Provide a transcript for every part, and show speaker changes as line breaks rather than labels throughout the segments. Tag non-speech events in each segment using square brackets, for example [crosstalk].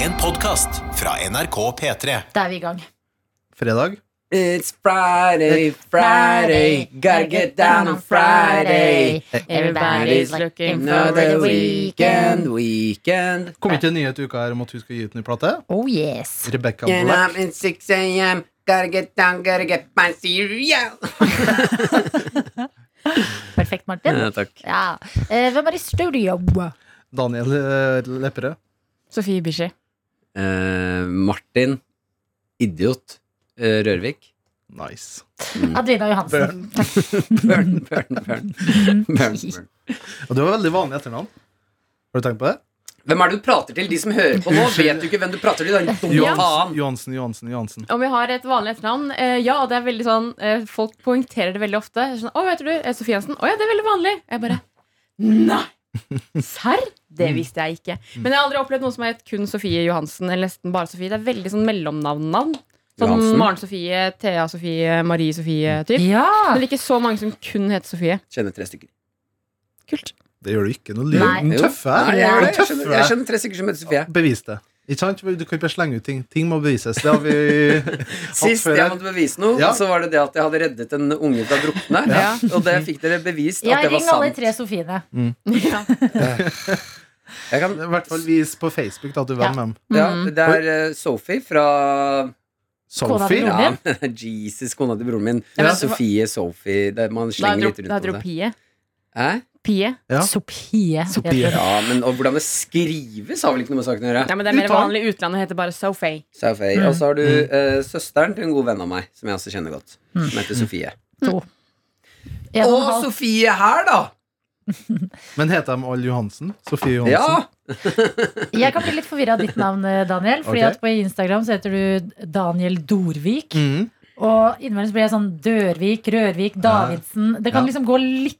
En podkast fra NRK P3.
Da er vi i gang.
Fredag.
It's Friday, Friday, gotta get down on Friday.
Everybody's looking for the
Another
weekend.
weekend, weekend.
Kom ikke en nyhet i uka her om at hun skal gi ut ny plate?
Oh yes.
Rebecca
And I'm
Black.
in 6 a.m. Gotta get down, gotta get my [laughs] cereal.
Perfekt, Martin.
takk.
Ja. Eh, hvem er i studio?
Daniel eh, Lepperød.
Sofie Bishi.
Eh, Martin, idiot, eh, Rørvik.
Nice.
Adrina Johansen.
Børn.
Burn, burn, burn.
[laughs]
burn, burn.
Og du har veldig vanlig etternavn. Har du tenkt på det?
Hvem er det du prater til? De som hører på nå, vet jo ikke hvem du prater til. Da. Dumme faen.
Johansen, Johansen, Johansen.
Om jeg har et vanlig etternavn? Eh, ja, det er veldig sånn eh, Folk poengterer det veldig ofte. Sånn, 'Å, heter du eh, Sofie Jensen?' 'Å ja, det er veldig vanlig.' Jeg bare Nei! Serr? Det visste jeg ikke. Men jeg har aldri opplevd noen som het kun Sofie Johansen. Eller nesten bare Sofie Det er veldig sånn mellomnavnnavn. Sånn
Johansen?
Maren Sofie, Thea Sofie, Marie Sofie typ.
[laughs] Ja!
Men ikke så mange som kun heter Sofie.
Kjenner tre stykker.
Kult.
Det gjør du ikke. Nå lyver
Nei.
den tøffe
Nei,
her. Den
jeg, jeg, jeg,
tøffe
kjenner, jeg kjenner tre stykker som heter Sofie.
Bevis det. Ikke sant? Du kan ikke bare slenge ut ting. Ting må bevises. Det har
[laughs]
vi
Sist
før
jeg
her.
måtte bevise noe,
Ja.
så var det det at jeg hadde reddet en unge fra å drukne.
Ja.
Og det fikk dere bevist at
Jeg
det var
ringer alle
sant.
tre Sofiene.
Ja.
Jeg kan,
I hvert fall vis på Facebook da, at du er venn med dem.
ja,
Mm.
det er eh, Sophie fra
Kona til
Sophie.
broren
ja,
din.
[laughs] Jesus, kona til broren min.
Ja.
Sofie, Sophie det, Man
Da er
slenger litt
det
rundt om det.
Pie.
Hæ?
Pie.
Ja.
Sofie.
Sophie.
heter hun.
Ja, men og hvordan det skrives, har vel ikke noe med saken å gjøre.
Nei, men det er mer
Uttalen.
vanlig i utlandet å hete bare Sophie.
Sophie.
Mm.
Og så har du eh, søsteren til en god venn av meg, som jeg også kjenner godt, som heter Sofie.
En og
Og
en Mm. halv.
Sofie her, da!
Men heter de alle Johansen? Sofie Johansen?
Ja!
Jeg kan bli litt forvirra av ditt navn, eh, Daniel. Fordi
Ok.
at på Instagram så heter du Daniel Dorvik.
Mhm.
Og innimellom så blir jeg sånn Dørvik, Rørvik, Davidsen. Det kan
Ja.
liksom gå litt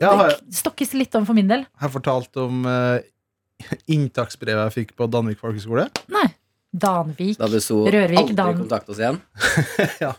Jeg har,
Det stokkes litt om for min del.
har jeg fortalt om eh, inntaksbrevet jeg fikk på Danvik folkehøgskole.
Nei. Danvik.
Da besto
Rørvik,
aldri
Dan-
kontakt oss igjen.
Vær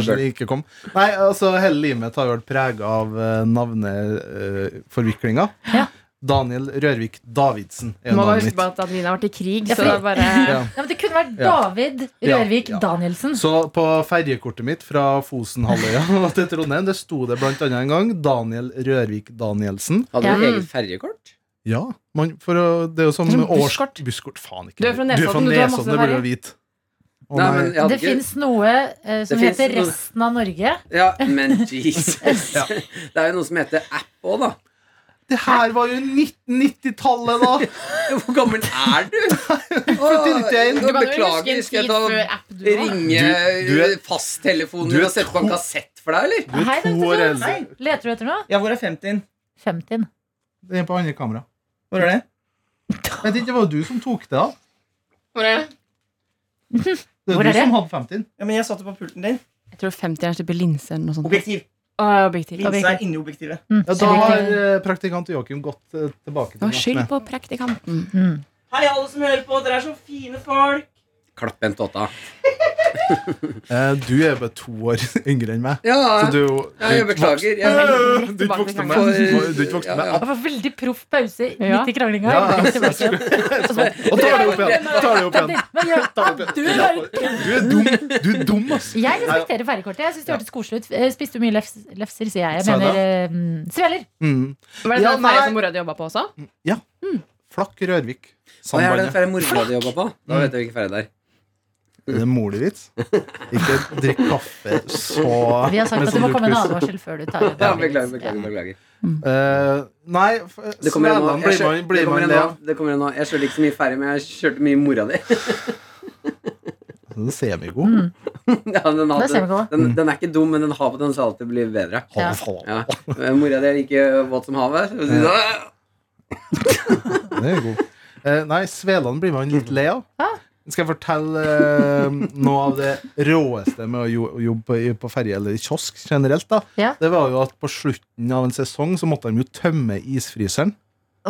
så snill, ikke kom. Nei, altså Hele livet mitt har jo vært prega av eh, navneforviklinga.
Ja.
Daniel Rørvik Davidsen er
Må
navnet
bare huske
mitt.
på at Adelina har vært i krig,
Ja,
så
fordi-
det er bare
Ja.
Ja, men det kunne vært
Ja.
David
Ja.
Rørvik
Ja.
Danielsen.
Så på ferjekortet mitt fra Fosenhalvøya [laughs] til Trondheim Det sto det blant annet en gang Daniel Rørvik Danielsen.
Hadde du
Ja.
eget ferjekort?
Ja, man, for å, Det er jo sånn
Det er sånn
års...
busskort.
Busskort, faen ikke
Du er fra Nesodden, du har masse
det burde du
ferje.
vite. Å
Nei,
nei.
men jeg hadde
det
ikke-
fins noe eh, som
Det finnes
heter
noe-
Resten av Norge.
Ja, men
[laughs]
Jesus.
Ja.
[laughs] Det er jo noe som heter app òg, da.
Det her var jo 1990-tallet, da!
Hvor gammel er
[laughs]
du?
Flytt ikke inn.
Åh,
Du kan jo huske
Beklager,
en
skal jeg
tid før
ta
app du har.
Du- du
ringe
er-
fasttelefonen
Du er
din og sette på en
to-
kassett for deg, eller?
Du
Hei,
er
det er
to år
sånn.
eldre.
Leter du etter noe?
Ja, hvor er 50-en?
50.
Det er på andre kamera.
Hvor er det?
Jeg vet ikke, Det var jo du som tok det av. Det
Hvor
er
er
du
det?
som hadde 50
Ja, men Jeg satte på pulten din.
Jeg tror 50 er type linse eller noe sånt.
Objektiv.
Å, objektiv.
Linsa
Objektiv.
er inni objektivet.
Mm.
Ja, Da har eh, praktikant Joakim gått eh, tilbake til
Nå skyld på praktikanten.
Mm.
Hei, alle som hører på. Dere er så fine folk.
Klapp en tåta.
Eh, Du er jo bare to år [laughs] yngre enn meg.
Ja,
Så du er jo
ja, jeg beklager.
Du
Jeg,
er ikke voksen med Du er ikke voksen
Ja,
med
ja.
Det var veldig proff pause
Ja.
midt i kranglinga.
Ja,
Jeg tenkte bare
[laughs]
sånn, [laughs]
Og tar det opp igjen. Tar det opp igjen.
Men jeg, du, er jo-
Du er dum, du er dum ass.
jeg respekterer ferjekortet. Jeg syns det hørtes koselig ut. Eh, Spiste du mye lefs, lefser, sier jeg. Jeg
Sa du
mener eh, mm, sveler.
Mm.
Var det
Ja,
den ferja
nei.
som mora di jobba på også?
Flakk Rørvik.
Hva er
Sandbandet.
den ferdige mora di jobba på? Da vet jeg hvilken ferie det er.
Er det morlig-vits? Ikke drikk kaffe så
Vi har sagt
med
at det må
sånn
komme en
lurtpuss.
advarsel før du tar
Ja, beklager, beklager, beklager.
Eh, Nei, f-
Det kommer igjen nå.
Svealand
Jeg
blir man, blir man
kjør- det kommer igjen
le
nå.
av.
Det kommer igjen nå. Jeg kjørte ikke så mye ferie, men jeg kjørte mye mora di. [laughs]
Den ser vi god.
Mm,
Ja,
Da ser
den, hadde,
vi ikke hva.
Mm.
den, den er ikke dum, men den har potens til alltid å bli bedre.
Ja.
Ja. Mora di er like våt som havet. Så sier hun,
Den er god. [laughs] Eh, nei, Sveland blir man litt lei av.
Hæ?
Skal jeg fortelle eh, noe av det råeste med å jo- jobbe på, på ferje eller i kiosk generelt? da
Ja.
Det var jo at på slutten av en sesong så måtte de jo tømme isfryseren.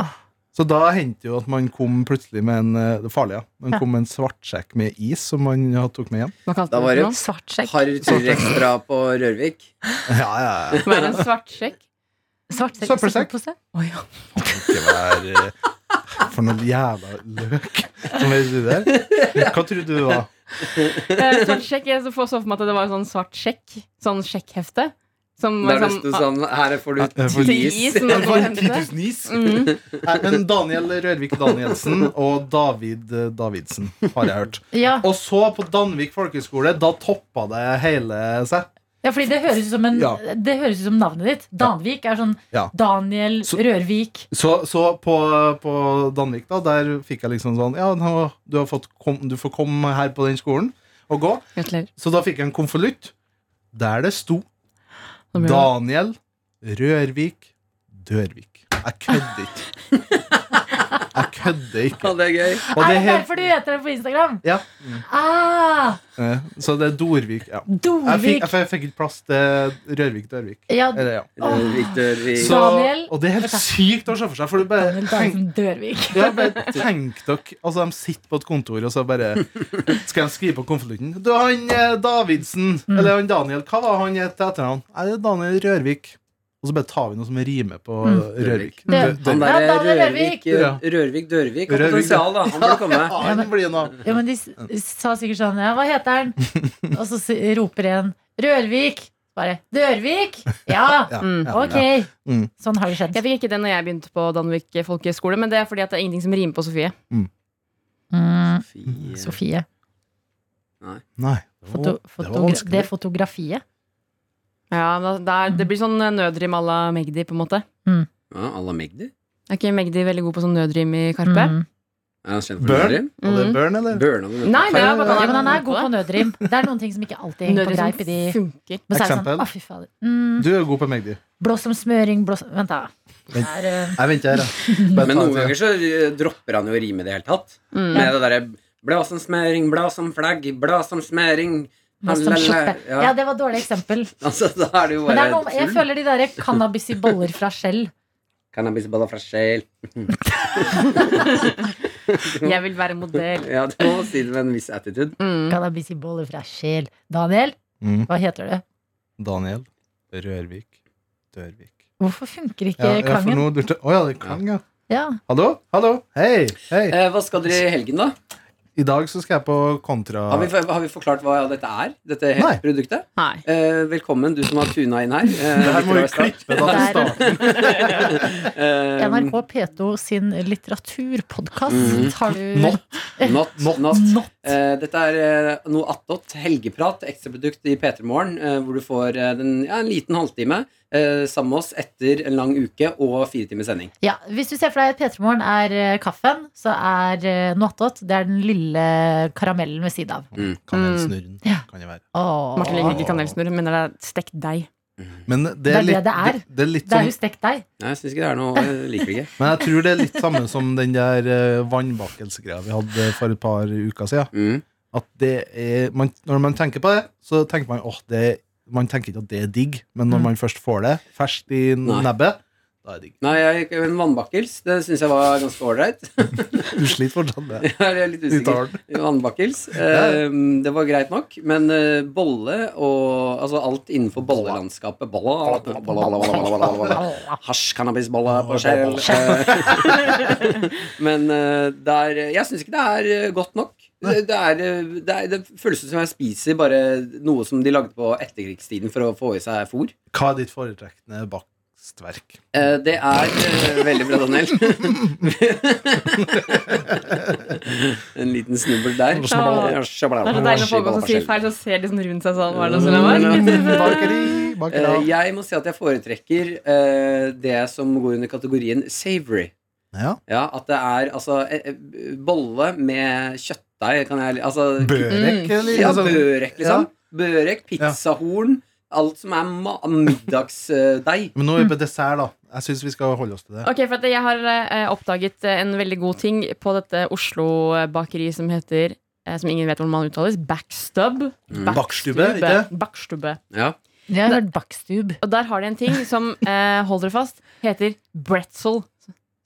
Åh.
Så da hendte jo at man kom plutselig med en eh, det farlige. Man
Ja.
kom med en svartsjekk med is som man ja, tok med hjem.
Hva kalte
Da
du
var
det
det
for noe?
Svartsjekk.
Harr tur ekstra på Rørvik.
Ja, ja, ja.
Hva er en svartsjekk?
Svartsekk.
liksom,
Søppelsekk.
søppelpose.
Å ja.
Ikke vær eh, for noen jævla løk som er uti der. Hva tror du det var?
[laughs] Eh, Svart sjekk, jeg så for så for meg at det var en sånn svart sjekk. Sånn sjekkhefte. Som
Der det
liksom-
sto sånn Her får du
Her får du
[laughs]
ti
tis.
som man får hente.
10 000 is?
Mm.
Nei, Eh, men Daniel Rørvik Danielsen og David eh, Davidsen har jeg hørt.
Ja.
Og så på Danvik folkehøgskole, da toppa det hele seg.
ja, fordi det høres ut som, en,
Ja.
det høres ut som navnet ditt. Danvik er sånn
Ja.
Daniel
Så-
Rørvik.
Så, så på, på Danvik, da, der fikk jeg liksom sånn Ja, nå, du, har fått kom, du får komme her på den skolen og gå.
Gratulerer.
Så da fikk jeg en konvolutt der det sto
Nå blir det-
Daniel Rørvik Dørvik. Jeg kødder ikke. Jeg kødder ikke.
Ja, det er gøy.
er
Og det
det
er helt
derfor du heter det på Instagram?
ja.
Ah,
eh, Så det er Dorvik. Ja. Jeg fikk,
Dorvik.
jeg, fikk- jeg fikk ikke plass til Rørvik-Dørvik.
Ja,
Eller, ja.
Åh.
Victor, vi
Så,
Daniel-
og det er helt sykt å se for seg. For du bare
Daniel Danielsen
tenk,
Dørvik.
ja, bare tenk dere Altså, de sitter på et kontor, og så bare skal de skrive på konvolutten. Du, han eh, Davidsen,
Mm.
eller han Daniel, hva var han het til etternavn? Nei, det er Daniel Rørvik. Og så bare tar vi noe som rimer på
Mm.
eh, Rørvik.
Det-
Dø- Dørvik.
Han
Ja,
derre
Daniel
Rørvik
Rørvik.
Rørvik Dørvik har
Rørvik,
potensial, da. Han burde komme.
[laughs] Ja, det blir noe.
Ja, men de s- sa sikkert sånn Ja, hva heter
[laughs]
han? Og så si- roper en Rørvik. Bare Dørvik? Ja,
[laughs] Ja,
Mm.
ja, ja.
ok.
Mm.
Sånn har det skjedd.
Jeg fikk ikke det når jeg begynte på Danvik folkehøgskole, men det er fordi at det er ingenting som rimer på Sofie.
Mm,
Fy-
Sofie.
Nei. Det var,
Foto,
det
fotogra
var
det,
vanskelig.
fotografiet.
Ja, men det, er, det blir sånn eh, nødrim à la Magdi, på en måte.
Ja, Alla Magdi?
Er ikke Magdi veldig god på sånn nødrim i Karpe?
Mm.
Er han kjent for
Burn?
nødrim?
Var det Burn, eller?
Burn, han er-
Nei, det er bare at
Ja, men han er
god
god
på
på
det.
nødrim. Det er noen ting som ikke alltid henger på
Nødrim
greip i de
som funker.
Men så er det
Eksempel?
Sånn, «Å, fy fader. mm,
Du er god på Magdi.
blå som smøring, blå som Vent, da. Det er, eh,
Jeg venter her, [laughs] jeg. Bare
Men
ta
noen
en til.
ganger så eh, dropper han jo å rime i det hele tatt.
Mm.
Med det derre Blad som smøring, blad som flagg, blad som smøring
blå som sånn
Halala.
skjorte.
Ja.
Ja, det var et dårlig eksempel.
[laughs] Altså, da er det jo
Men det er noe,
bare
jeg
tull.
føler de der cannabis i boller fra [laughs] skjell.
Cannabisboller fra sjel.
[laughs] Jeg vil være modell.
[laughs] Ja, du må si det med en viss attitude.
Mm.
Cannabis i boller fra skjell. Daniel,
Mm.
hva heter det?
Daniel Rørvik Dørvik.
Hvorfor funker ikke
Ja, ja, for
klangen?
nå lurte Å ja, det er klang, ja.
Ja.
Hallo? Hallo? Hei! Hei!
Eh, hva skal dere i helgen, da?
I dag så skal jeg på kontra...
Har vi, har vi forklart hva dette er? Dette he-
Nei.
produktet?
Nei.
Eh, velkommen, du som har tuna inn her. Eh,
Det her må vi
Victor Øystad.
klippe da til
Der.
starten.
Eh,
NRK P2 sin litteraturpodkast har du
Not.
Not.
Not.
not.
Not.
Eh, dette er eh, noe attåt. Helgeprat, ekstraprodukt i P3 Morgen, eh, hvor du får eh, den, ja, en liten halvtime eh, sammen med oss etter en lang uke og fire timers sending.
Ja, Hvis du ser for deg at P3 Morgen er eh, kaffen, så er eh, Noatot det er den lille karamellen ved siden av.
Kanelsnurren
Mm. Ja.
kan det være.
Åh.
Martin liker ikke kanelsnurr, men det er stekt deig.
Men det
Det er
er litt,
det det er.
det er litt
Det er
som,
jo stekt deig.
Nei, jeg syns ikke det er noe Jeg liker det ikke.
men jeg tror det er litt samme som den der eh, vannbakelsegreia vi hadde for et par uker siden.
Mm.
At det er, man, når man tenker på det, så tenker man åh, det man tenker ikke at det er digg, men når
Mm.
man først får det ferskt i
Nei.
nebbet, da er det digg.
Nei, jeg, en vannbakkels, det syns jeg var ganske ålreit.
Du sliter fortsatt [laughs] med det.
[laughs] Jeg er litt usikker.
Uttalen.
[laughs] Vannbakkels. Eh, det var greit nok, men eh, bolle og Altså alt innenfor bollelandskapet. Bolla, bolla, bolla, bolla, bolla, bolla, bolla. [laughs] Hasj, cannabisbolle på skjell. Eh, [laughs] Men eh, det er, jeg syns ikke det er eh, godt nok. Det, det, er, eh, det, er, det føles ut som jeg spiser bare noe som de lagde på etterkrigstiden for å få i seg fôr.
Hva er ditt foretrekkende bakstverk?
Eh, Det er eh, veldig bra,
[laughs]
Daniel. en liten snubbel der.
Det er Det er så deilig å få folk som sier feil, så ser de sånn rundt seg sånn. Hva er det som er
Mm.
[laughs] Bakeri, bakera.
Eh, Jeg må si at jeg foretrekker eh, det som går under kategorien savory.
Ja.
Ja, at det er altså eh, eh, bolle med kjøttdeig kan jeg Altså
Børek,
Mm.
eller?
ja,
Altså,
børek, liksom.
ja.
Børek, pizzahorn, alt som er ma- middagsdeig.
Men nå er vi på dessert, da. Jeg syns vi skal holde oss til det.
Ok, for at Jeg har eh, oppdaget eh, en veldig god ting på dette Oslo-bakeriet som heter eh, Som ingen vet hvordan man uttales. Backstub.
Bakstube, ikke?
Bakstube.
Ja.
Jeg har hørt bakstub.
Og der har de en ting som, [laughs] eh, hold dere fast, heter bretzel.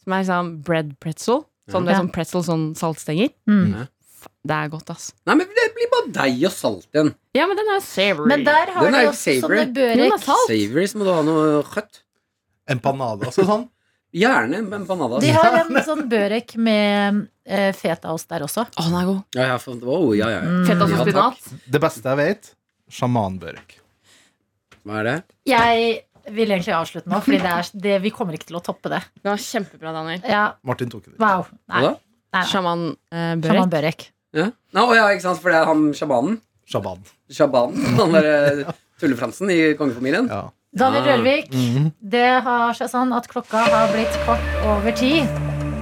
Som er liksom bread pretzel. Sånn, det er
Ja.
sånn pretzel, sånn saltstenger.
Mm.
Fa- Det er godt, ass.
Nei, men det blir bare deig og salt igjen.
Ja, men den er savory.
Men der har
Den
de
er jo
også
savory.
sånne børek.
Salt?
Savory, så må du ha noe kjøtt.
Empanadas og sånn.
Gjerne med bananas.
De har en sånn børek med eh, fetaost der også.
Å, den er god.
Ja, ja, for, oh, ja, ja.
Mm.
Ja,
Feta som
takk.
spinat.
Det beste jeg vet, sjamanbørk.
Hva er det?
Jeg vil egentlig avslutte nå, Fordi det er det, vi kommer ikke til å toppe det.
Ja, kjempebra, Daniel.
Ja,
Martin tok det.
wow. Nei,
Hva da?
nei, nei.
Sjaman eh, Børek.
Sjaman Børek.
Ja. Nå, å ja, ikke sant, for det er han sjamanen.
Shaban.
Sjabanen, [laughs] han derre tullefransen i kongefamilien.
Ja.
Daniel
Ah.
Rørvik,
Mhm.
det har seg sånn at klokka har blitt kvart over ti.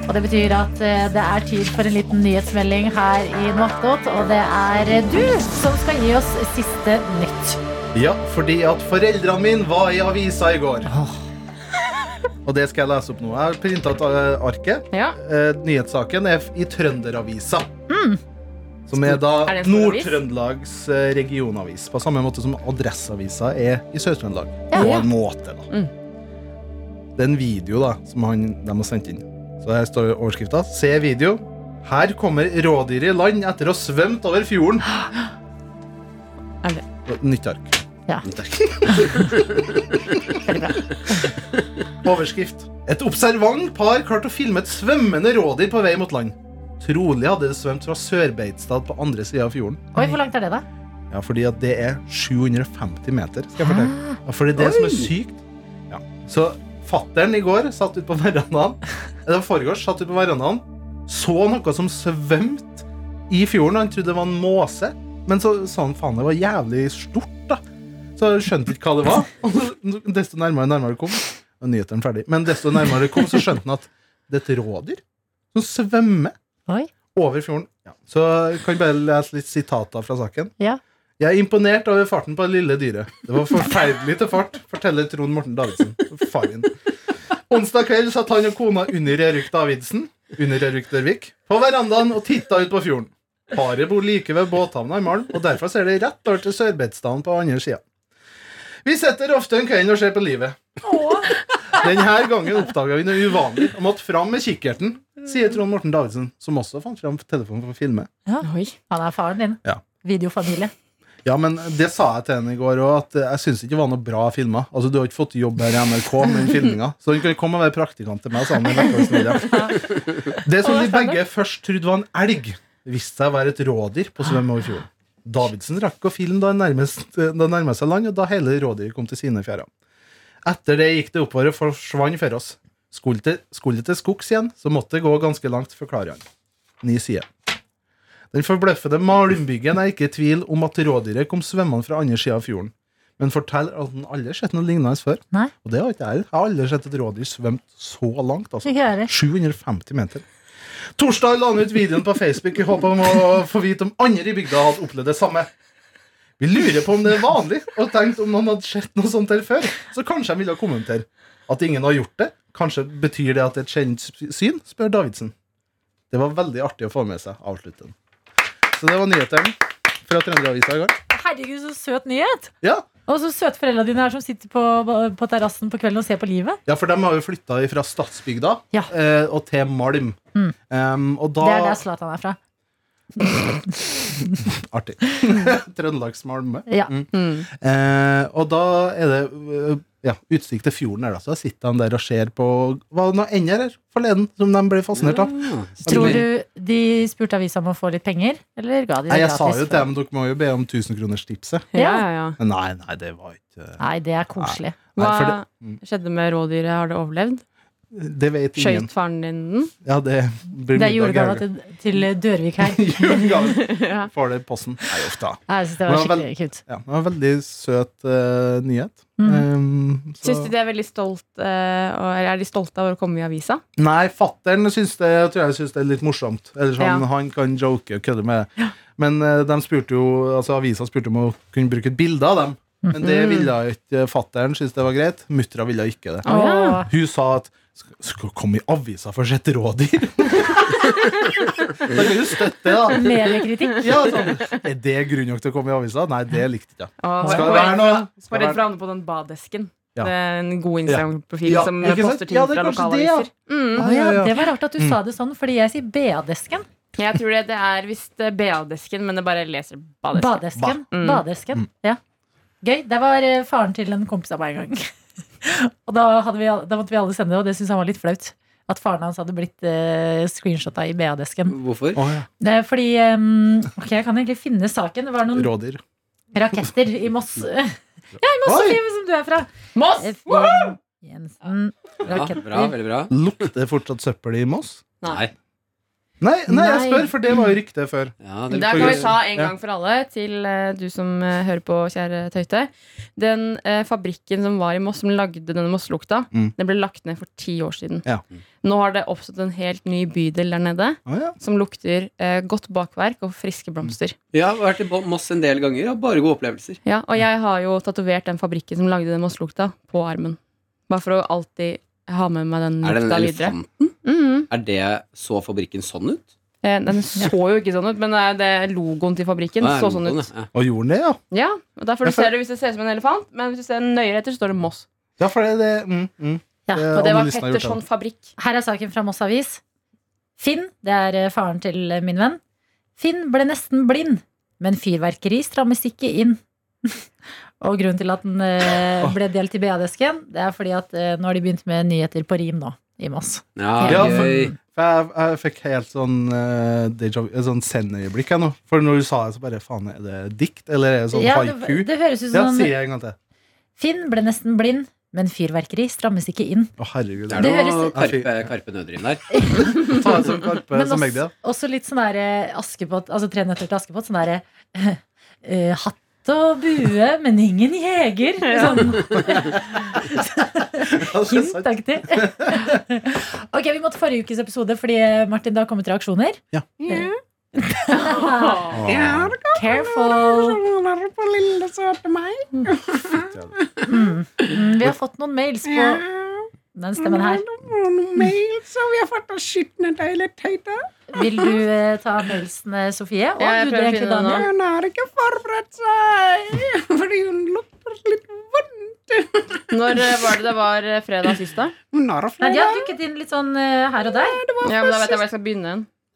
Og det betyr at eh, det er tid for en liten nyhetsmelding her i Noatot. Og det er eh, du som skal gi oss siste nytt.
ja, fordi at foreldrene mine var i avisa i går. Og det skal jeg lese opp nå. Jeg har printa ut eh, arket.
Ja.
Eh, nyhetssaken er f- i Trønderavisa. Som er da
Mm. Er det en stor avis?
Nord-Trøndelags eh, regionavis. På samme måte som Adresseavisa er i Sør-Trøndelag.
Ja.
På en måte, da.
Mm.
Det er en video da, som han, de har sendt inn. Så her står overskrifta. Se video. Her kommer rådyret i land etter å ha svømt over fjorden.
[gasps] Er det-
Nytt ark. [laughs] Overskrift. Et observant par klarte å filme et svømmende rådyr på vei mot land. Trolig hadde det svømt fra Sør-Beitstad på andre sida av fjorden.
Oi, hvor langt er det, da?
Ja, fordi at det er 750 meter, skal jeg fortelle. Ja, for det er det som er sykt. Ja. Så fatteren i går satt ut på verandaen, eller foregårs, satt ut på verandaen, så noe som svømte i fjorden. Han trodde det var en måse, men så sa han faen, det var jævlig stort, da. Så jeg skjønte ikke hva det var. Og desto nærmere og nærmere det kom, og nyheten ferdig, men desto nærmere det kom, så skjønte han at det er et rådyr som svømmer
Oi.
over fjorden. Ja. Så jeg kan bare lese litt sitater fra saken.
Ja.
Jeg er imponert over farten på det lille dyret. Det var forferdelig til fart, forteller Trond Morten Davidsen. Faren. Onsdag kveld satt han og kona under Erik Davidsen under Erik Dørvik, på verandaen og titta ut på fjorden. Paret bor like ved båthavna i Malm, og derfor ser det rett over til Sørbeitstaden på andre sida. Vi sitter ofte en kveld og ser på livet. Denne gangen oppdaga vi noe uvanlig og måtte fram med kikkerten, sier Trond Morten Davidsen, som også fant fram telefonen for å filme.
Oi.
Han er faren din.
Ja.
Videofamilie.
Ja, men det sa jeg til henne i går òg, at jeg syns ikke det var noe bra filma. Altså, du har ikke fått jobb her i NRK med den filminga, så hun kan komme og være praktikant til meg. Sa han, i Vekkårens Media. det som vi begge først trodde var en elg, viste seg å være et rådyr på svøm over fjorden. Davidsen rakk å filme da han nærmest- da han nærma seg land, og da hele rådyret kom til sine fjærer. Etter det gikk det oppover og forsvant for oss. Skulle det, skulle det til skogs igjen, så måtte det gå ganske langt, forklarer han. Ni sider. Den forbløffende malmbyggen er ikke i tvil om at rådyret kom svømmende fra andre sida av fjorden. Men fortell at den aldri har sett noe lignende før.
Nei.
Og det har ikke jeg. Jeg har aldri sett et rådyr svømt så langt. altså.
Ikke jeg heller.
750 meter. Torsdag la han ut videoen på Facebook i håp om å få vite om andre i bygda hadde opplevd det samme. Vi lurer på om det er vanlig, og tenkte om noen hadde sett noe sånt her før. Så kanskje jeg ville kommentere. At ingen har gjort det, kanskje betyr det at det er et kjent syn, spør Davidsen. Det var veldig artig å få med seg. Avslutt den. Så det var nyhetene fra Trønderavisa i går.
Herregud, så søt nyhet!
Ja.
Og så søte foreldra dine her som sitter på, på terrassen på kvelden og ser på livet.
ja, for de har jo flytta fra Stadsbygda
Ja.
eh, og til Malm.
Mm.
Em, og da
Det altså. er der Zlatan er fra.
Artig. [laughs] Trøndelagsmalme.
Ja.
Mm. Eh, og da er det øh, ja, utsikt til fjorden her, da. Så da sitter han der og ser på Var det noen ender her forleden som de ble fascinert av?
Mm.
Ja.
Tror du de spurte avisa om å få litt penger, eller ga de det
Nei, jeg sa
gratis?
jo til dem dere må jo be om 1000-kronerstipset.
Ja, ja, ja.
Men Nei, nei, det var ikke
Nei, det er koselig.
Nei,
Hva
for det,
skjedde med rådyret? Har det overlevd?
eh, det vet ingen.
Skjøt faren din den?
Ja, det
Det
blir
er
middag
julegava
her.
til,
[laughs]
til Dørvik her. [laughs]
Julegave. Får det i posten. Nei, uff da.
Nei, Jeg synes det var
Men vel-
skikkelig kult.
Ja, det var en veldig søt eh, nyhet.
Mm.
Um, så-
Syns de de er veldig stolt eh, og- Eller er de stolte av å komme i avisa?
Nei, fattern syns det, jeg tror jeg syns det er litt morsomt. Eller sånn,
Ja.
Han kan joke og kødde med det. Men eh, de spurte jo, altså, avisa spurte om å kunne bruke et bilde av dem. Men det ville jo ikke fattern synes det var greit. Muttera ville ikke det.
Å,
Hun sa at "Sk- skal komme i avisa for å sette rådyr. [laughs] da kan du støtte det, da.
Mediekritikk.
Ja, sånn. Er det grunn nok til å komme i avisa? Nei, det likte jeg ikke.
Og-
Skal
og-
det være noe? Skal
Var
det være...
redd for å havne på den badesken.
Ja.
Det er en god Instagram-profil
Ja,
som
ikke sant?
poster ting
Ja, det er
fra
kanskje det,
lokalaviser. Mm.
Å,
Ja,
ja,
[laughs] ja, Mm. ja.
det var rart at du sa det sånn, fordi jeg sier BA-desken.
Jeg tror det, det er visst eh, BA-desken, men det bare leser badesken.
Badesken.
Ba- Mm.
Badesken. Ja. Gøy. Det var eh, faren til en kompis av meg en gang. [laughs] Og da, hadde vi, al- da måtte vi alle sende det, og det syntes han var litt flaut. At faren hans hadde blitt eh, screenshotta i BA-desken.
Mm.
Hvorfor?
Å, ja.
Det er Fordi eh, Ok, jeg kan egentlig finne saken. Det var noen
Rådyr.
raketter i Moss. Ja, i Moss,
Oi!
Sofie, som du er fra.
Moss!
Eh, Jen- Jensen.
Ja, bra,
Raketter.
veldig bra.
Lukter det fortsatt søppel i Moss?
Nei.
Nei, nei, jeg
Nei.
spør, for det var jo ryktet før.
Ja,
Det
dere
kan
får-
vi ta en
Ja.
gang for alle til eh, du som eh, hører på, kjære Tøyte. Den eh, fabrikken som var i Moss, som lagde denne Moss-lukta,
Mm.
den ble lagt ned for ti år siden.
Ja.
Nå har det oppstått en helt ny bydel der nede,
Å, ja.
som lukter eh, godt bakverk og friske blomster.
Jeg har vært i Bo- Moss en del ganger, og bare gode opplevelser.
Ja, og jeg har jo tatovert den fabrikken som lagde den Moss-lukta, på armen. Bare for å alltid ha med meg den
Er det den
lukta videre.
elefanten?
Mhm.
Er det så fabrikken sånn ut?
Eh, Den så jo ikke sånn ut, men eh, det logoen til fabrikken
Nei,
så sånn ut.
Ja.
Og gjorde den det, ja?
Ja, og derfor
Ja,
du
for-
ser det hvis det ser ut som en elefant, men hvis du ser nøyere etter, så står det Moss.
Ja, for det er det mm, mm.
Ja,
Det
Og det var
analysen har gjort
Petterson fabrikk.
Her er saken fra Moss Avis. Finn, det er eh, faren til eh, min venn, Finn ble nesten blind, men fyrverkeri strammes ikke inn. [laughs] Og grunnen til at den eh, ble delt i BA-desken, det er fordi at eh, nå har de begynt med nyheter på rim nå, i Moss.
Ja,
Ja,
gøy.
For jeg, jeg fikk helt sånn uh, deja, vu- et sånn sendøyeblikk jeg nå. For når du sa det, så bare faen, er det dikt, eller er det sånn
Ja,
haiku?
det, sånn- det høres ut
ja,
som
sier jeg en gang til.
Finn ble nesten blind, men fyrverkeri strammes ikke inn.
Å, herregud.
Det er
Det
noe
høres-
Karpe, karpe Nødrim der.
Ta en sånn karpe
Men
som
også,
begge da.
også litt sånn derre Askepott, altså Tre nøtter til Askepott. Sånn derre eh, [laughs] Hatt og bue, men ingen
[laughs]
jeger. Sånn
[laughs] Ja, det er sant.
hintaktig. [laughs] ok, vi må til forrige ukes episode, fordi eh, Martin, det har kommet reaksjoner.
Eh, Åh.
Å,
Careful. Mm. Mm, vi har fått noen mails på den stemmen her. Vil du eh, ta mailsene, Sofie? Og
Ja, jeg
du,
prøver å
egentlig,
finne den nå.
Daniel?
Hun har ikke forberedt seg, [laughs] fordi hun lukter litt vondt.
Når eh, var det det var eh, fredag sist, da?
Hun har
Nei, de
flere
har dukket inn litt sånn eh, her og der.
Ja, men Da vet jeg hvor jeg skal begynne.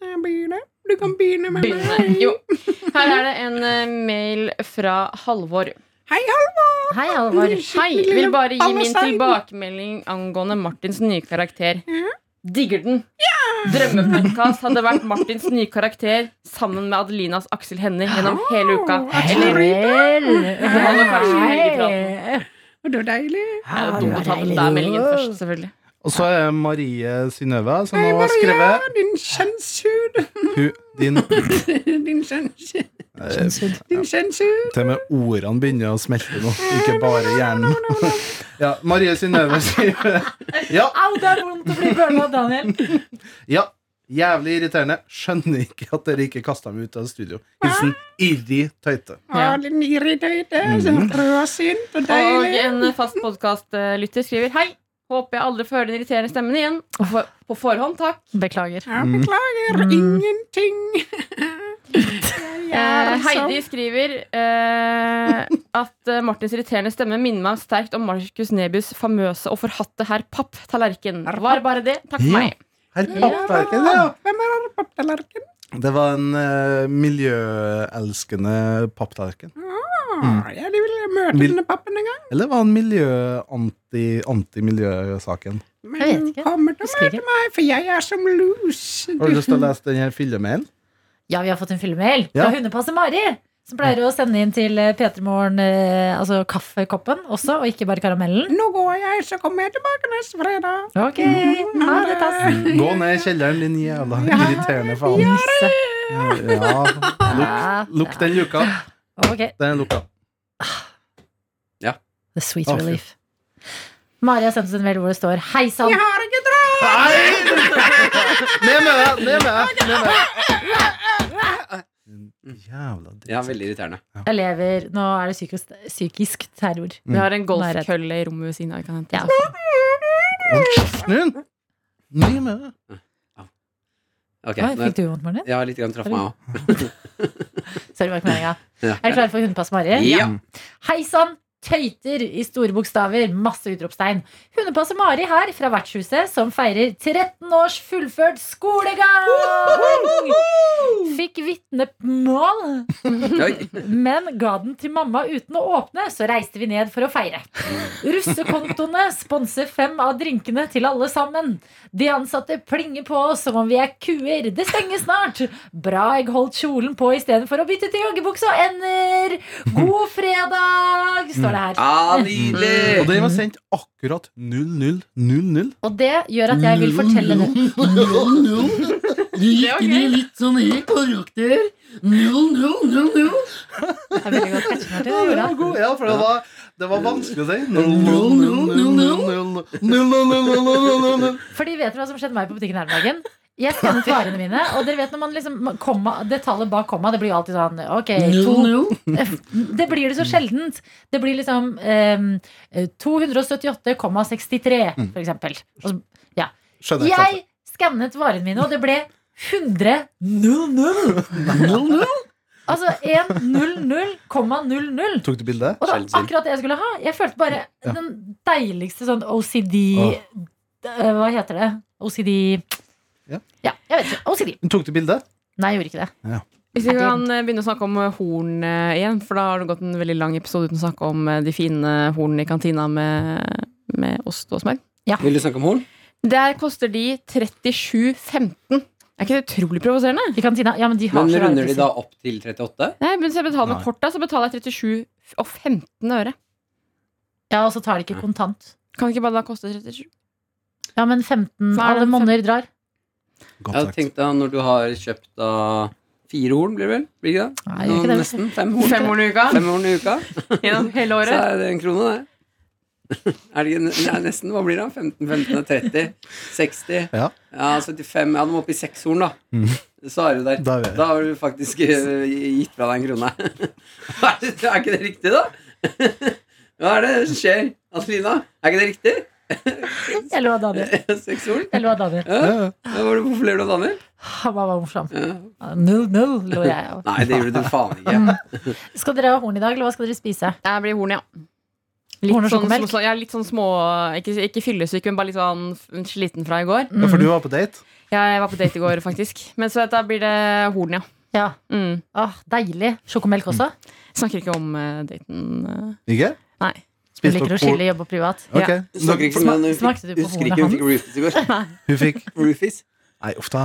hen.
begynner. Du kan begynne med meg.
begynne. Jo. Her er det en eh, mail fra Halvor.
Hei, Halvor!
Hei, Halvor.
Hei! Vil bare gi min
Ballerstein.
tilbakemelding angående Martins nye karakter. Digger den. Drømmepodkast hadde vært Martins nye karakter sammen med Adelinas Aksel Hennie gjennom hele uka. Eller Eller kanskje helgepraten.
Det var deilig.
Det er jo dumt å ta den der meldingen først, selvfølgelig.
Og så er Marie Synnøve, som nå har
Maria,
skrevet
din kjønnshud.
hun,
[laughs]
din,
[laughs]
eh,
Din kjønnshud. Din kjønnshud.
Til og med ordene begynner å smelte nå, ikke bare hjernen. [laughs] Ja, Marie Synnøve sier
[laughs]
Ja,
Au, det er vondt å bli burna, Daniel.
ja. Jævlig irriterende. Skjønner ikke at dere ikke kasta meg ut av studio. Hilsen Irri Tøyte.
Ja, din irriterte, som rødsint og
Og
deilig.
en fast podkastlytter skriver Hei! Håper jeg aldri får høre den irriterende stemmen igjen. Og for- På forhånd, takk.
Beklager.
Jeg beklager ingenting. Jeg
Eh,
er som
Heidi
sånn.
skriver eh, at eh, Martins irriterende stemme minner meg sterkt om Markus Nebys famøse og forhatte herr Papp-tallerken. Var bare det. Takk for
Ja.
meg.
Herr Pappverket, det, ja.
Hvem er papptallerken?
Det var en eh, miljøelskende papptallerken.
Ah, ja, de ville møte
Vil-
denne pappen en gang.
Eller var han miljø-anti-miljøsaken?
Men
Jeg vet
hun
ikke.
kommer til å
Husker
møte
ikke.
meg, for jeg er som lus.
Har du lyst til å lese den her [laughs] fyllemailen?
Ja, vi har fått en fyllemail
Ja.
fra hundepasser Mari. Som pleier å sende inn til eh, P3morgen eh, altså kaffekoppen også, og ikke bare karamellen.
Nå går jeg, så kommer jeg tilbake neste fredag.
Ok, ha det, Tassen.
Gå ned i kjelleren, din jævla irriterende faen.
Nisse.
Ja,
Ja,
lukk lukk den luka.
Ok,
Den er lukka.
the sweet
Å, fy.
relief. Mari har sendt oss en mail hvor det står Hei sann,
Jeg har ikke drøm!
Nei! Ned med deg! Ned med deg! Ned med deg. Jævla dritt.
Ja, veldig irriterende.
elever Nå er det psykisk, psykisk terror.
Vi har en
Nå er jeg
golfkølle i rommet ved siden av. Kan jeg hente.
Mm. Ja.
Snu den! Ned med deg.
Ok,
Oi,
nå,
fikk du vondt, Martin?
ja, litt grann traff meg òg.
Sorry, var ikke meninga.
Ja.
Er du klar for Hundepass Mari?
Ja.
Hei sann! Tøyter i store bokstaver. Masse utropstegn. Hundepasser Mari her fra Vertshuset, som feirer 13 års fullført skolegang! Fikk fikk vitnemål,
Oi.
men ga den til mamma uten å åpne, så reiste vi ned for å feire. Russekontoene sponser fem av drinkene til alle sammen. De ansatte plinger på oss som om vi er kuer. Det stenger snart. Bra jeg holdt kjolen på istedenfor å bytte til joggebukse og ender. God fredag, står det her.
Mm.
Ah,
Og
nydelig!
den var sendt akkurat 0000.
Og det gjør at jeg vil fortelle det.
Du gikk inn i litt sånn helt karakter. Null, null, null, null.
Det er veldig godt [laughs] catchy, Martin.
Ja,
Det
det
gjorde
var
det.
god, ja, for det var, det var vanskelig å si.
For de vet hva som skjedde meg på butikken her om dagen. Jeg skannet varene mine, og dere vet når man liksom komma, Det tallet bak komma, det blir jo alltid sånn Ok, to
Null, null.
Det blir det så sjeldent. Det blir liksom ehm, 278,63, for eksempel. Og så,
Skjønner jeg ikke.
jeg skannet varene mine, og det ble 100 00. Altså 100,00.
Tok du bilde?
Og det var
Sjelden syn.
akkurat det jeg skulle ha. Jeg følte bare
Ja.
den deiligste sånn OCD
Åh.
eh, Hva heter det? OCD
Ja.
jeg vet ikke. OCD.
Tok du bilde?
Nei, jeg gjorde ikke det.
Hvis vi kan eh, begynne å snakke om eh, horn eh, igjen, for da har det gått en veldig lang episode uten å snakke om eh, de fine hornene i kantina med, med ost og smør.
Vil du snakke om horn?
Der koster de 37,15. Er ikke det utrolig provoserende?
I kantina. Ja, men de har
Men
så rare
runder de
priser.
da opp til 38?
Nei, men hvis jeg betaler
Nei.
med korta, så betaler jeg 37,15 øre.
Ja, og så tar de ikke kontant.
Kan det ikke bare da koste 37?
Ja, men 15
Hva er
alle
det,
monner drar.
Jeg tenkte da, når du har kjøpt da fire horn, blir det vel? Blir det ikke det?
Nei, gjør ikke
Nå,
det.
Nesten fem horn.
Fem horn i uka
Fem horn i uka.
gjennom hele
Så
året.
er det en krone, det. [laughs] Er det ikke nei, nesten? Hva blir det? 15, 15, 30, 60
Ja. Mm.
ja 75 Ja, du må opp i seks horn, da. Så er du der.
Da er vi-
Da har du faktisk eh, gitt fra deg en krone. [laughs] Er det- er ikke det riktig, da? [laughs] Hva er det som skjer, Adelina? Er ikke det riktig? [laughs]
Jeg lå av Daniel.
Seks horn?
Jeg lå av Daniel.
Ja.
Ja, ja.
Ja, var det- Hvorfor ler du av Daniel?
[laughs] Han var morsom.
Ja.
Null, null, lå jeg
[laughs]
av.
Nei, det gjorde du faen ikke.
Mm. Skal dere ha horn i dag, eller hva skal dere spise?
Det blir horn, ja.
Horn og
sånn,
sjokomelk?
små- ja, litt sånn små Ikke, ikke fyllesyk, men bare litt sånn f- sliten fra i går.
Ja, for du var på date?
Jeg var på date i går, [laughs] faktisk. Men så da blir det horn, ja.
Ja.
Mm.
Åh, deilig. Sjokomelk også?
Mm.
Snakker ikke om eh, daten. eh.
Ikke?
Nei.
Du
Spiste
liker
dere
å skille jobb og privat.
Ok.
Snakker ikke
Smak-
som hun
smakte du på
Husker
hornet
ikke hun fikk Rufus i går.
Hun fikk
[laughs]
Rufus.
Nei, uff da.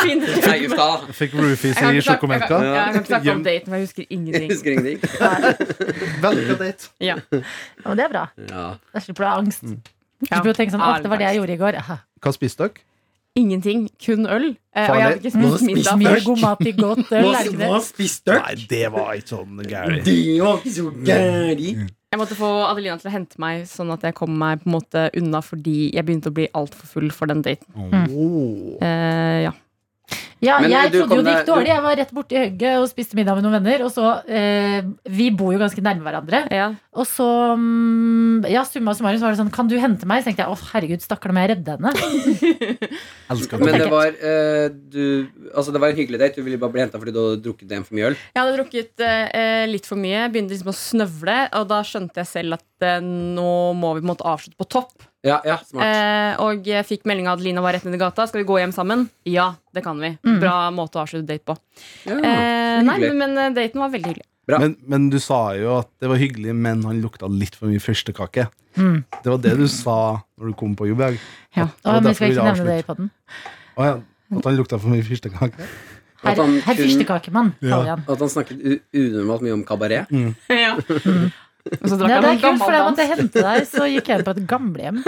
Fin.
Nei, uff da.
Hun fikk roofies
Jeg kan
i
ikke snakke- Jeg
sjokomelka.
kan, [laughs] ja, jeg kan ikke snakke om
Gjem-
daten, for jeg husker
Jeg
ingenting.
husker ingenting.
Veldig bra date.
Ja, men det er bra.
Ja.
Da slipper du å ha angst.
Mm.
Du
Ja.
slipper å tenke sånn, åh,
All
det var det jeg gjorde i går. Aha.
Hva spiste dere?
Ingenting. Kun øl. Eh, og jeg hadde ikke
Farlig.
spist middag.
Mye Mm. god mat i godt øl, er det ikke
Hva
det?
spiste dere?
Nei, det var ikke sånn gærent.
Det var ikke så gæli.
Jeg måtte få Adelina til å hente meg, sånn at jeg kom meg på en måte unna fordi jeg begynte å bli altfor full for den daten.
Oh.
Eh, ja.
Ja,
Men eh,
jeg
du
trodde jo
kom
det
deg-
gikk dårlig. Jeg var rett borti Høgge og spiste middag med noen venner. Og så, eh, Vi bor jo ganske nærme hverandre.
ja.
Og så, mm, ja, summa summarum, så var det sånn Kan du hente meg? Så tenkte jeg å herregud, stakkar, nå må jeg redde henne.
Elsker
Men
det.
det var, eh, du, altså det var en hyggelig date. Du ville bare bli henta fordi du hadde drukket en for mye øl.
Jeg hadde drukket eh, litt for mye, begynte liksom å snøvle, og da skjønte jeg selv at eh, nå må vi på en måte avslutte på topp.
Ja, ja, smart.
Eh, og jeg fikk melding av Adelina var rett nedi gata. Skal vi gå hjem sammen? Ja, det kan vi.
Mm.
Bra måte å avslutte date på.
Ja.
Eh,
så
nei,
hyggelig.
men eh, daten var veldig hyggelig.
Men, men du sa jo at det var hyggelig, men han lukta litt for mye fyrstekake.
Mm.
Det var det du sa når du kom på jobb i dag.
Ja.
At-
Og,
at
men
derfor
skal jeg
ville
ikke nevne det
avslutte.
i podden.
Å ja, At han lukta for mye fyrstekake?
At
Herr
han
her
sånn kun-
fyrstekakemann, kaller vi han.
At han snakket u- unormalt mye om kabaret.
[laughs] ja. Og så drakk
Nei, Mm. det
jeg noen
er kult, for da jeg
gammeldans.
måtte hente deg, så gikk jeg inn på et
[laughs]
gamlehjem.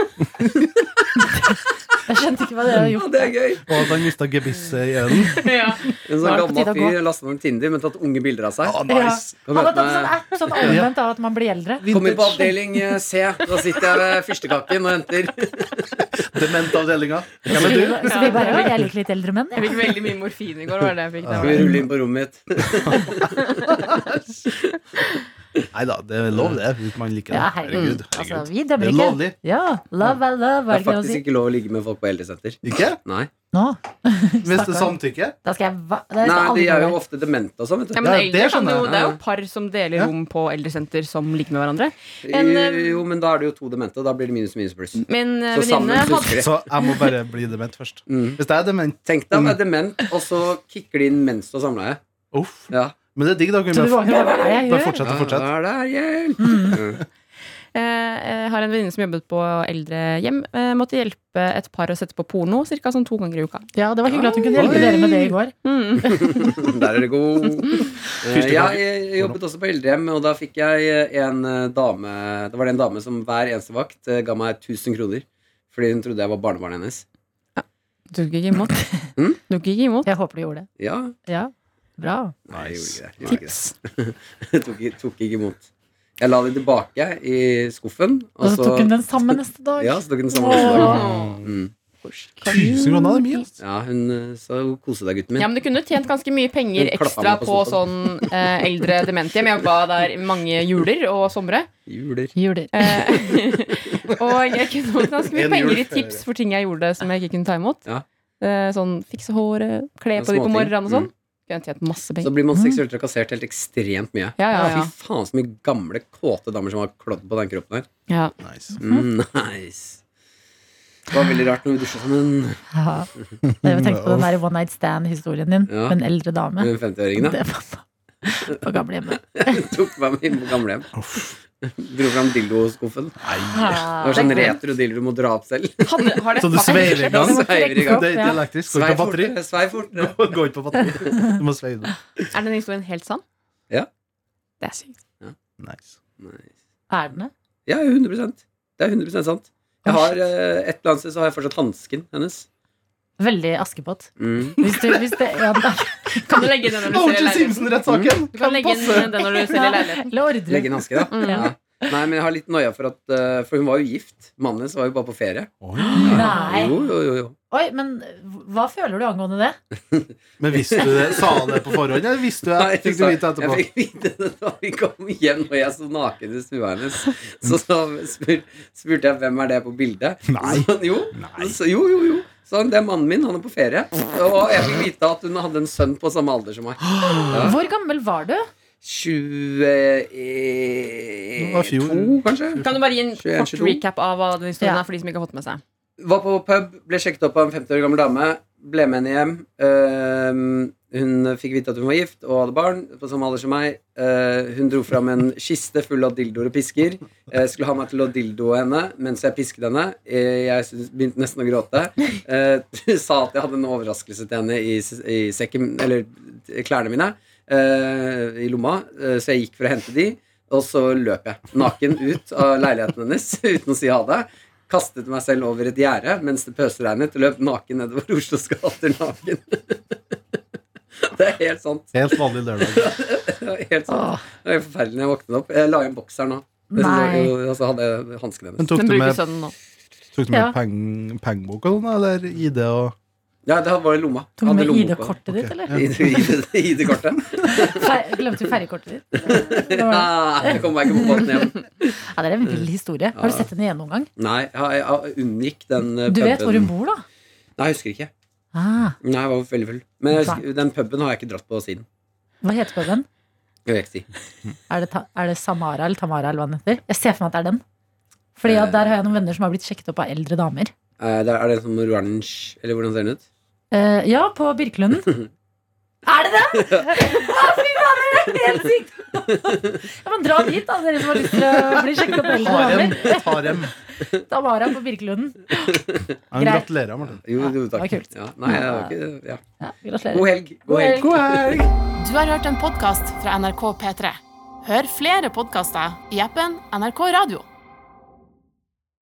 Jeg skjønte ikke hva dere hadde
Ja,
gjort.
det er gøy!
Og at han mista gebisset i ølen?
[laughs] Ja.
En
Nå
sånn
er det på
gammel
tide å gå.
fyr lasta ned Tinder, men tatt unge bilder av seg.
Ah, nice.
Kom,
Han
møt
hadde en sånn
meg.
app, sånn omvendt av at man blir eldre.
Kom inn på avdeling eh, C. Da sitter jeg ved fyrstekaken og henter.
Dementavdelinga. Ja,
Så
men
vi,
du,
så vi bare, «Å, jeg liker litt eldre menn,
Jeg
jeg.
fikk veldig mye morfin i går. Var det jeg fikk, det
Skal
var.
vi
det.
rulle inn på rommet mitt?
Nei da, det er lov, det. Hvis man liker det.
Ja,
Herregud.
herregud. Altså,
herregud.
vi
Det
dømmer
er
ikke.
lovlig.
Ja, love er love,
Det
er det
er
ikke noe å
faktisk
si?
ikke lov å ligge med folk på eldresenter.
Ikke?
Nei,
Nå,
Hvis det er
Stakkar.
samtykke?
da skal jeg va- da skal
Nei
alle
de er
gå
jo
der.
ofte demente og sånn. vet
Ja,
du.
men
Ja,
eldre
det
kan
skjønner
jo,
jeg.
det er jo par som deler
Ja.
rom på eldresenter, som ligger med hverandre. en, eh,
Jo, men da er det jo to demente. Da blir det minus, minus, pluss.
Min eh,
Så sammen
venninne hadde
søstre.
Så jeg må bare bli dement først.
Mm.
Hvis jeg er dement
Tenk deg å være dement, og så kicker de inn mens du har samleie.
Uff.
Ja.
Men det er digg, da. Kan vi
Så du var-
bare,
Hva er det jeg
bare
gjør?
fortsette, fortsette.
Ja, der, hjelp! [laughs]
Eh, eh, har en venninne som jobbet på eldrehjem. Eh, måtte hjelpe et par å sette på porno cirka sånn to ganger i uka.
Ja, det var hyggelig at hun kunne hjelpe
Oi.
dere med det i går. [laughs]
Mm.
Der er det god. Eh,
Første gang.
Jeg jobbet også på eldrehjem, og da fikk jeg en eh, dame Det var det en dame som hver eneste vakt eh, ga meg 1000 kroner. Fordi hun trodde jeg var barnebarnet hennes.
Du tok ikke imot?
Mm?
Du tok ikke imot?
Jeg håper du gjorde det.
Ja.
Ja, bra.
Nei, jeg gjorde ikke det. Jeg gjorde ikke det. Jeg [laughs] tok, ikke- tok ikke imot. Jeg la det tilbake i skuffen,
Og så tok hun den samme neste dag.
Ja, så tok hun den samme neste dag.
Åh.
Mm.
1000 kroner det er mye. altså.
Ja, hun eh, sa kose deg, gutten min.
Ja, men Du kunne tjent ganske mye
Hun
penger
klappa
ekstra
meg på
på
sofaen.
sånn eh, eldre dementhjem. Jeg jobba der i mange juler og somre.
Juler.
Juler.
Eh, [laughs] og jeg kunne fått ganske mye
En jul
penger i
før.
tips for ting jeg gjorde som jeg ikke kunne ta imot.
Ja.
Eh, sånn fikse håret, kle
Ja,
på de på
småting.
morgenen og sånn.
Mm.
Kunne tjent masse
Så
penger.
blir man seksuelt trakassert helt ekstremt mye.
Ja, ja, ja.
Fy faen, så mye gamle, kåte damer som har klådd på den kroppen her. [laughs]
Ja.
Nice.
Mm, nice. Det var veldig rart når vi dusja sammen
Ja. Jeg tenkte
[laughs]
på den der One Night Stand-historien din
Ja.
med en eldre dame.
med den 50-åringen. da.
Det var på, på gamlehjemmet.
[laughs] Tok meg med inn på gamlehjem. Dro fram dildoskuffen. Det var sånn retro dildo du må dra opp selv.
Hadde, har det
Så du sveiver i
[laughs]
gang?
Sveiver i gang. eh,
Det er ikke elektrisk. Går
Svei
ikke på batteri.
fortere, svei fortere.
[laughs] Går ikke på batteri. Du må sveive den.
Er den historien helt sann?
Ja.
Det er sykt.
Nice.
Nice.
Er den det?
Ja, 100 Det er 100 sant. Jeg har, eh, Et eller annet sted så har jeg fortsatt hansken hennes.
Veldig Askepott.
Mm.
Hvis du, hvis det, ja, da,
Kan du legge den når du
O.J.
selger leiligheten?
Simpson-rettssaken!
Du kan legge inn den når du selger leiligheten.
eller ordre.
Legge en hanske, da.
Mm.
Ja. Nei, men jeg har litt noia for at eh, For hun var jo gift. Mannen hennes var jo bare på ferie.
Nei.
Jo, jo, jo, jo.
Oi, men hva føler du angående det?
Men visste du det? Sa han det på forhånd, eller visste du
Nei,
det? Fikk du
sa-
vite etterpå?
Jeg fikk vite det da vi kom hjem og jeg så naken i stua hennes. Så, så spur, spurte jeg hvem er det på bildet.
Nei.
Så, han, jo, Så, jo, jo, jo. Så han, det er mannen min, han er på ferie. Og jeg fikk vite at hun hadde en sønn på samme alder som meg. Ja.
Hvor gammel var du?
22,
var fjor.
eh, kanskje?
Kan du bare gi en
21,
kort
22?
recap av hva den historien
Ja.
er for de som ikke har fått med seg?
Var på pub, ble sjekket opp av en 50 år gammel dame. Ble med henne hjem. Ehm, hun fikk vite at hun var gift og hadde barn. På samme alder som meg Eh, Hun dro fram en kiste full av dildoer og pisker. Eh, skulle ha meg til å dildoe henne mens jeg pisket henne. Eh, jeg syns- begynte nesten å gråte. Eh, sa at jeg hadde en overraskelse til henne i, s- i sekken, eller t- klærne mine. eh, I lomma. Eh, så jeg gikk for å hente de. Og så løp jeg naken ut av leiligheten hennes [laughs] uten å si ha det kastet meg selv over et gjerde mens det pøsregnet, og løp naken nedover Oslos gater naken. [laughs] Det er helt sant.
Helt vanlig lørdag.
Det er helt, sant.
Åh,
Det var helt forferdelig når jeg våknet opp. Jeg la igjen bokseren nå. Det som var
nei.
jo- Og så hadde jeg hansken hennes.
Men tok
Den
du
bruker sånn.
med,
sønnen nå.
tok du med
Ja.
peng- pengebok og sånn, eller ID og
Ja, det var i lomma.
Tok du
Hadde
med
lommeboka. [laughs]
ID-kortet ditt, eller?
ID- ID-kortet?
[laughs] Fer glemte du ferjekortet ditt?
Nei, jeg kom meg ikke på båten hjem.
Ja, det er en
Mm.
vill historie. Har du sett henne igjen noen gang?
Nei, jeg jeg unngikk den eh,
Du vet hvor hun
puben.
bor, da?
Nei, jeg husker ikke.
Ah,
Nei, jeg var veldig full. Men jeg husker, den puben har jeg ikke dratt på siden.
hva heter puben?
Jeg vet ikke.
Er det, ta, er det Samara eller Tamara eller hva den heter? Jeg ser for meg at det er den. Fordi at Der har jeg noen venner som har blitt sjekket opp av eldre damer.
Eh, der Er det sånn oransje, eller hvordan ser den ut?
Eh, ja, på Birkelunden. [laughs] er det den?! Å, fy fader, det er helt sykt! ja, men dra dit, da, dere som har lyst til å bli sjekket opp av eldre
Harem.
damer.
Et harem.
Tamara på Birkelunden.
Ja, men
Greit.
Gratulerer, Martin.
Jo, jo,
det var
takk.
kult.
Ja, nei, det var ikke ja.
Ja, gratulerer.
God helg.
God helg.
God helg.
Du har hørt en podkast fra NRK P3. Hør flere podkaster i appen NRK Radio.